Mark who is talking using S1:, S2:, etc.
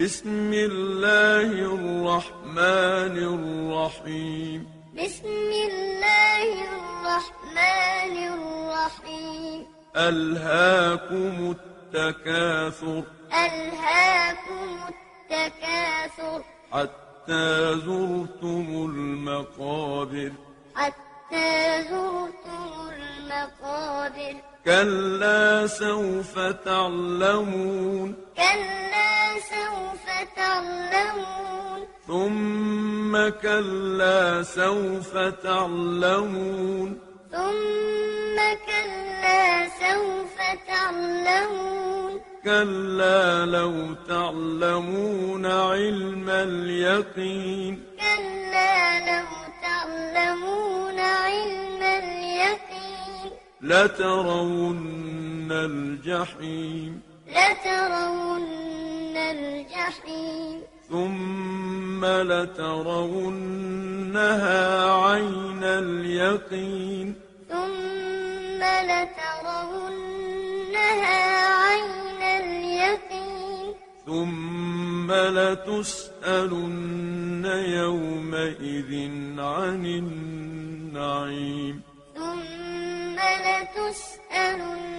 S1: بسم الله الرحمن الرحيم
S2: بسم الله الرحمن الرحيم
S1: ألهاكم التكاثر
S2: ألهاكم التكاثر
S1: حتى زرتم المقابر
S2: حتى زرتم المقابر
S1: كلا سوف تعلمون
S2: كلا سوف تعلمون
S1: ثم كلا سوف تعلمون
S2: ثم كلا سوف تعلمون
S1: كلا لو تعلمون علم اليقين
S2: كلا لو تعلمون علم اليقين
S1: لترون الجحيم
S2: لترون الجحيم
S1: ثم لترونها عين اليقين
S2: ثم لترونها عين اليقين
S1: ثم لتسألن يومئذ عن النعيم
S2: ثم لتسألن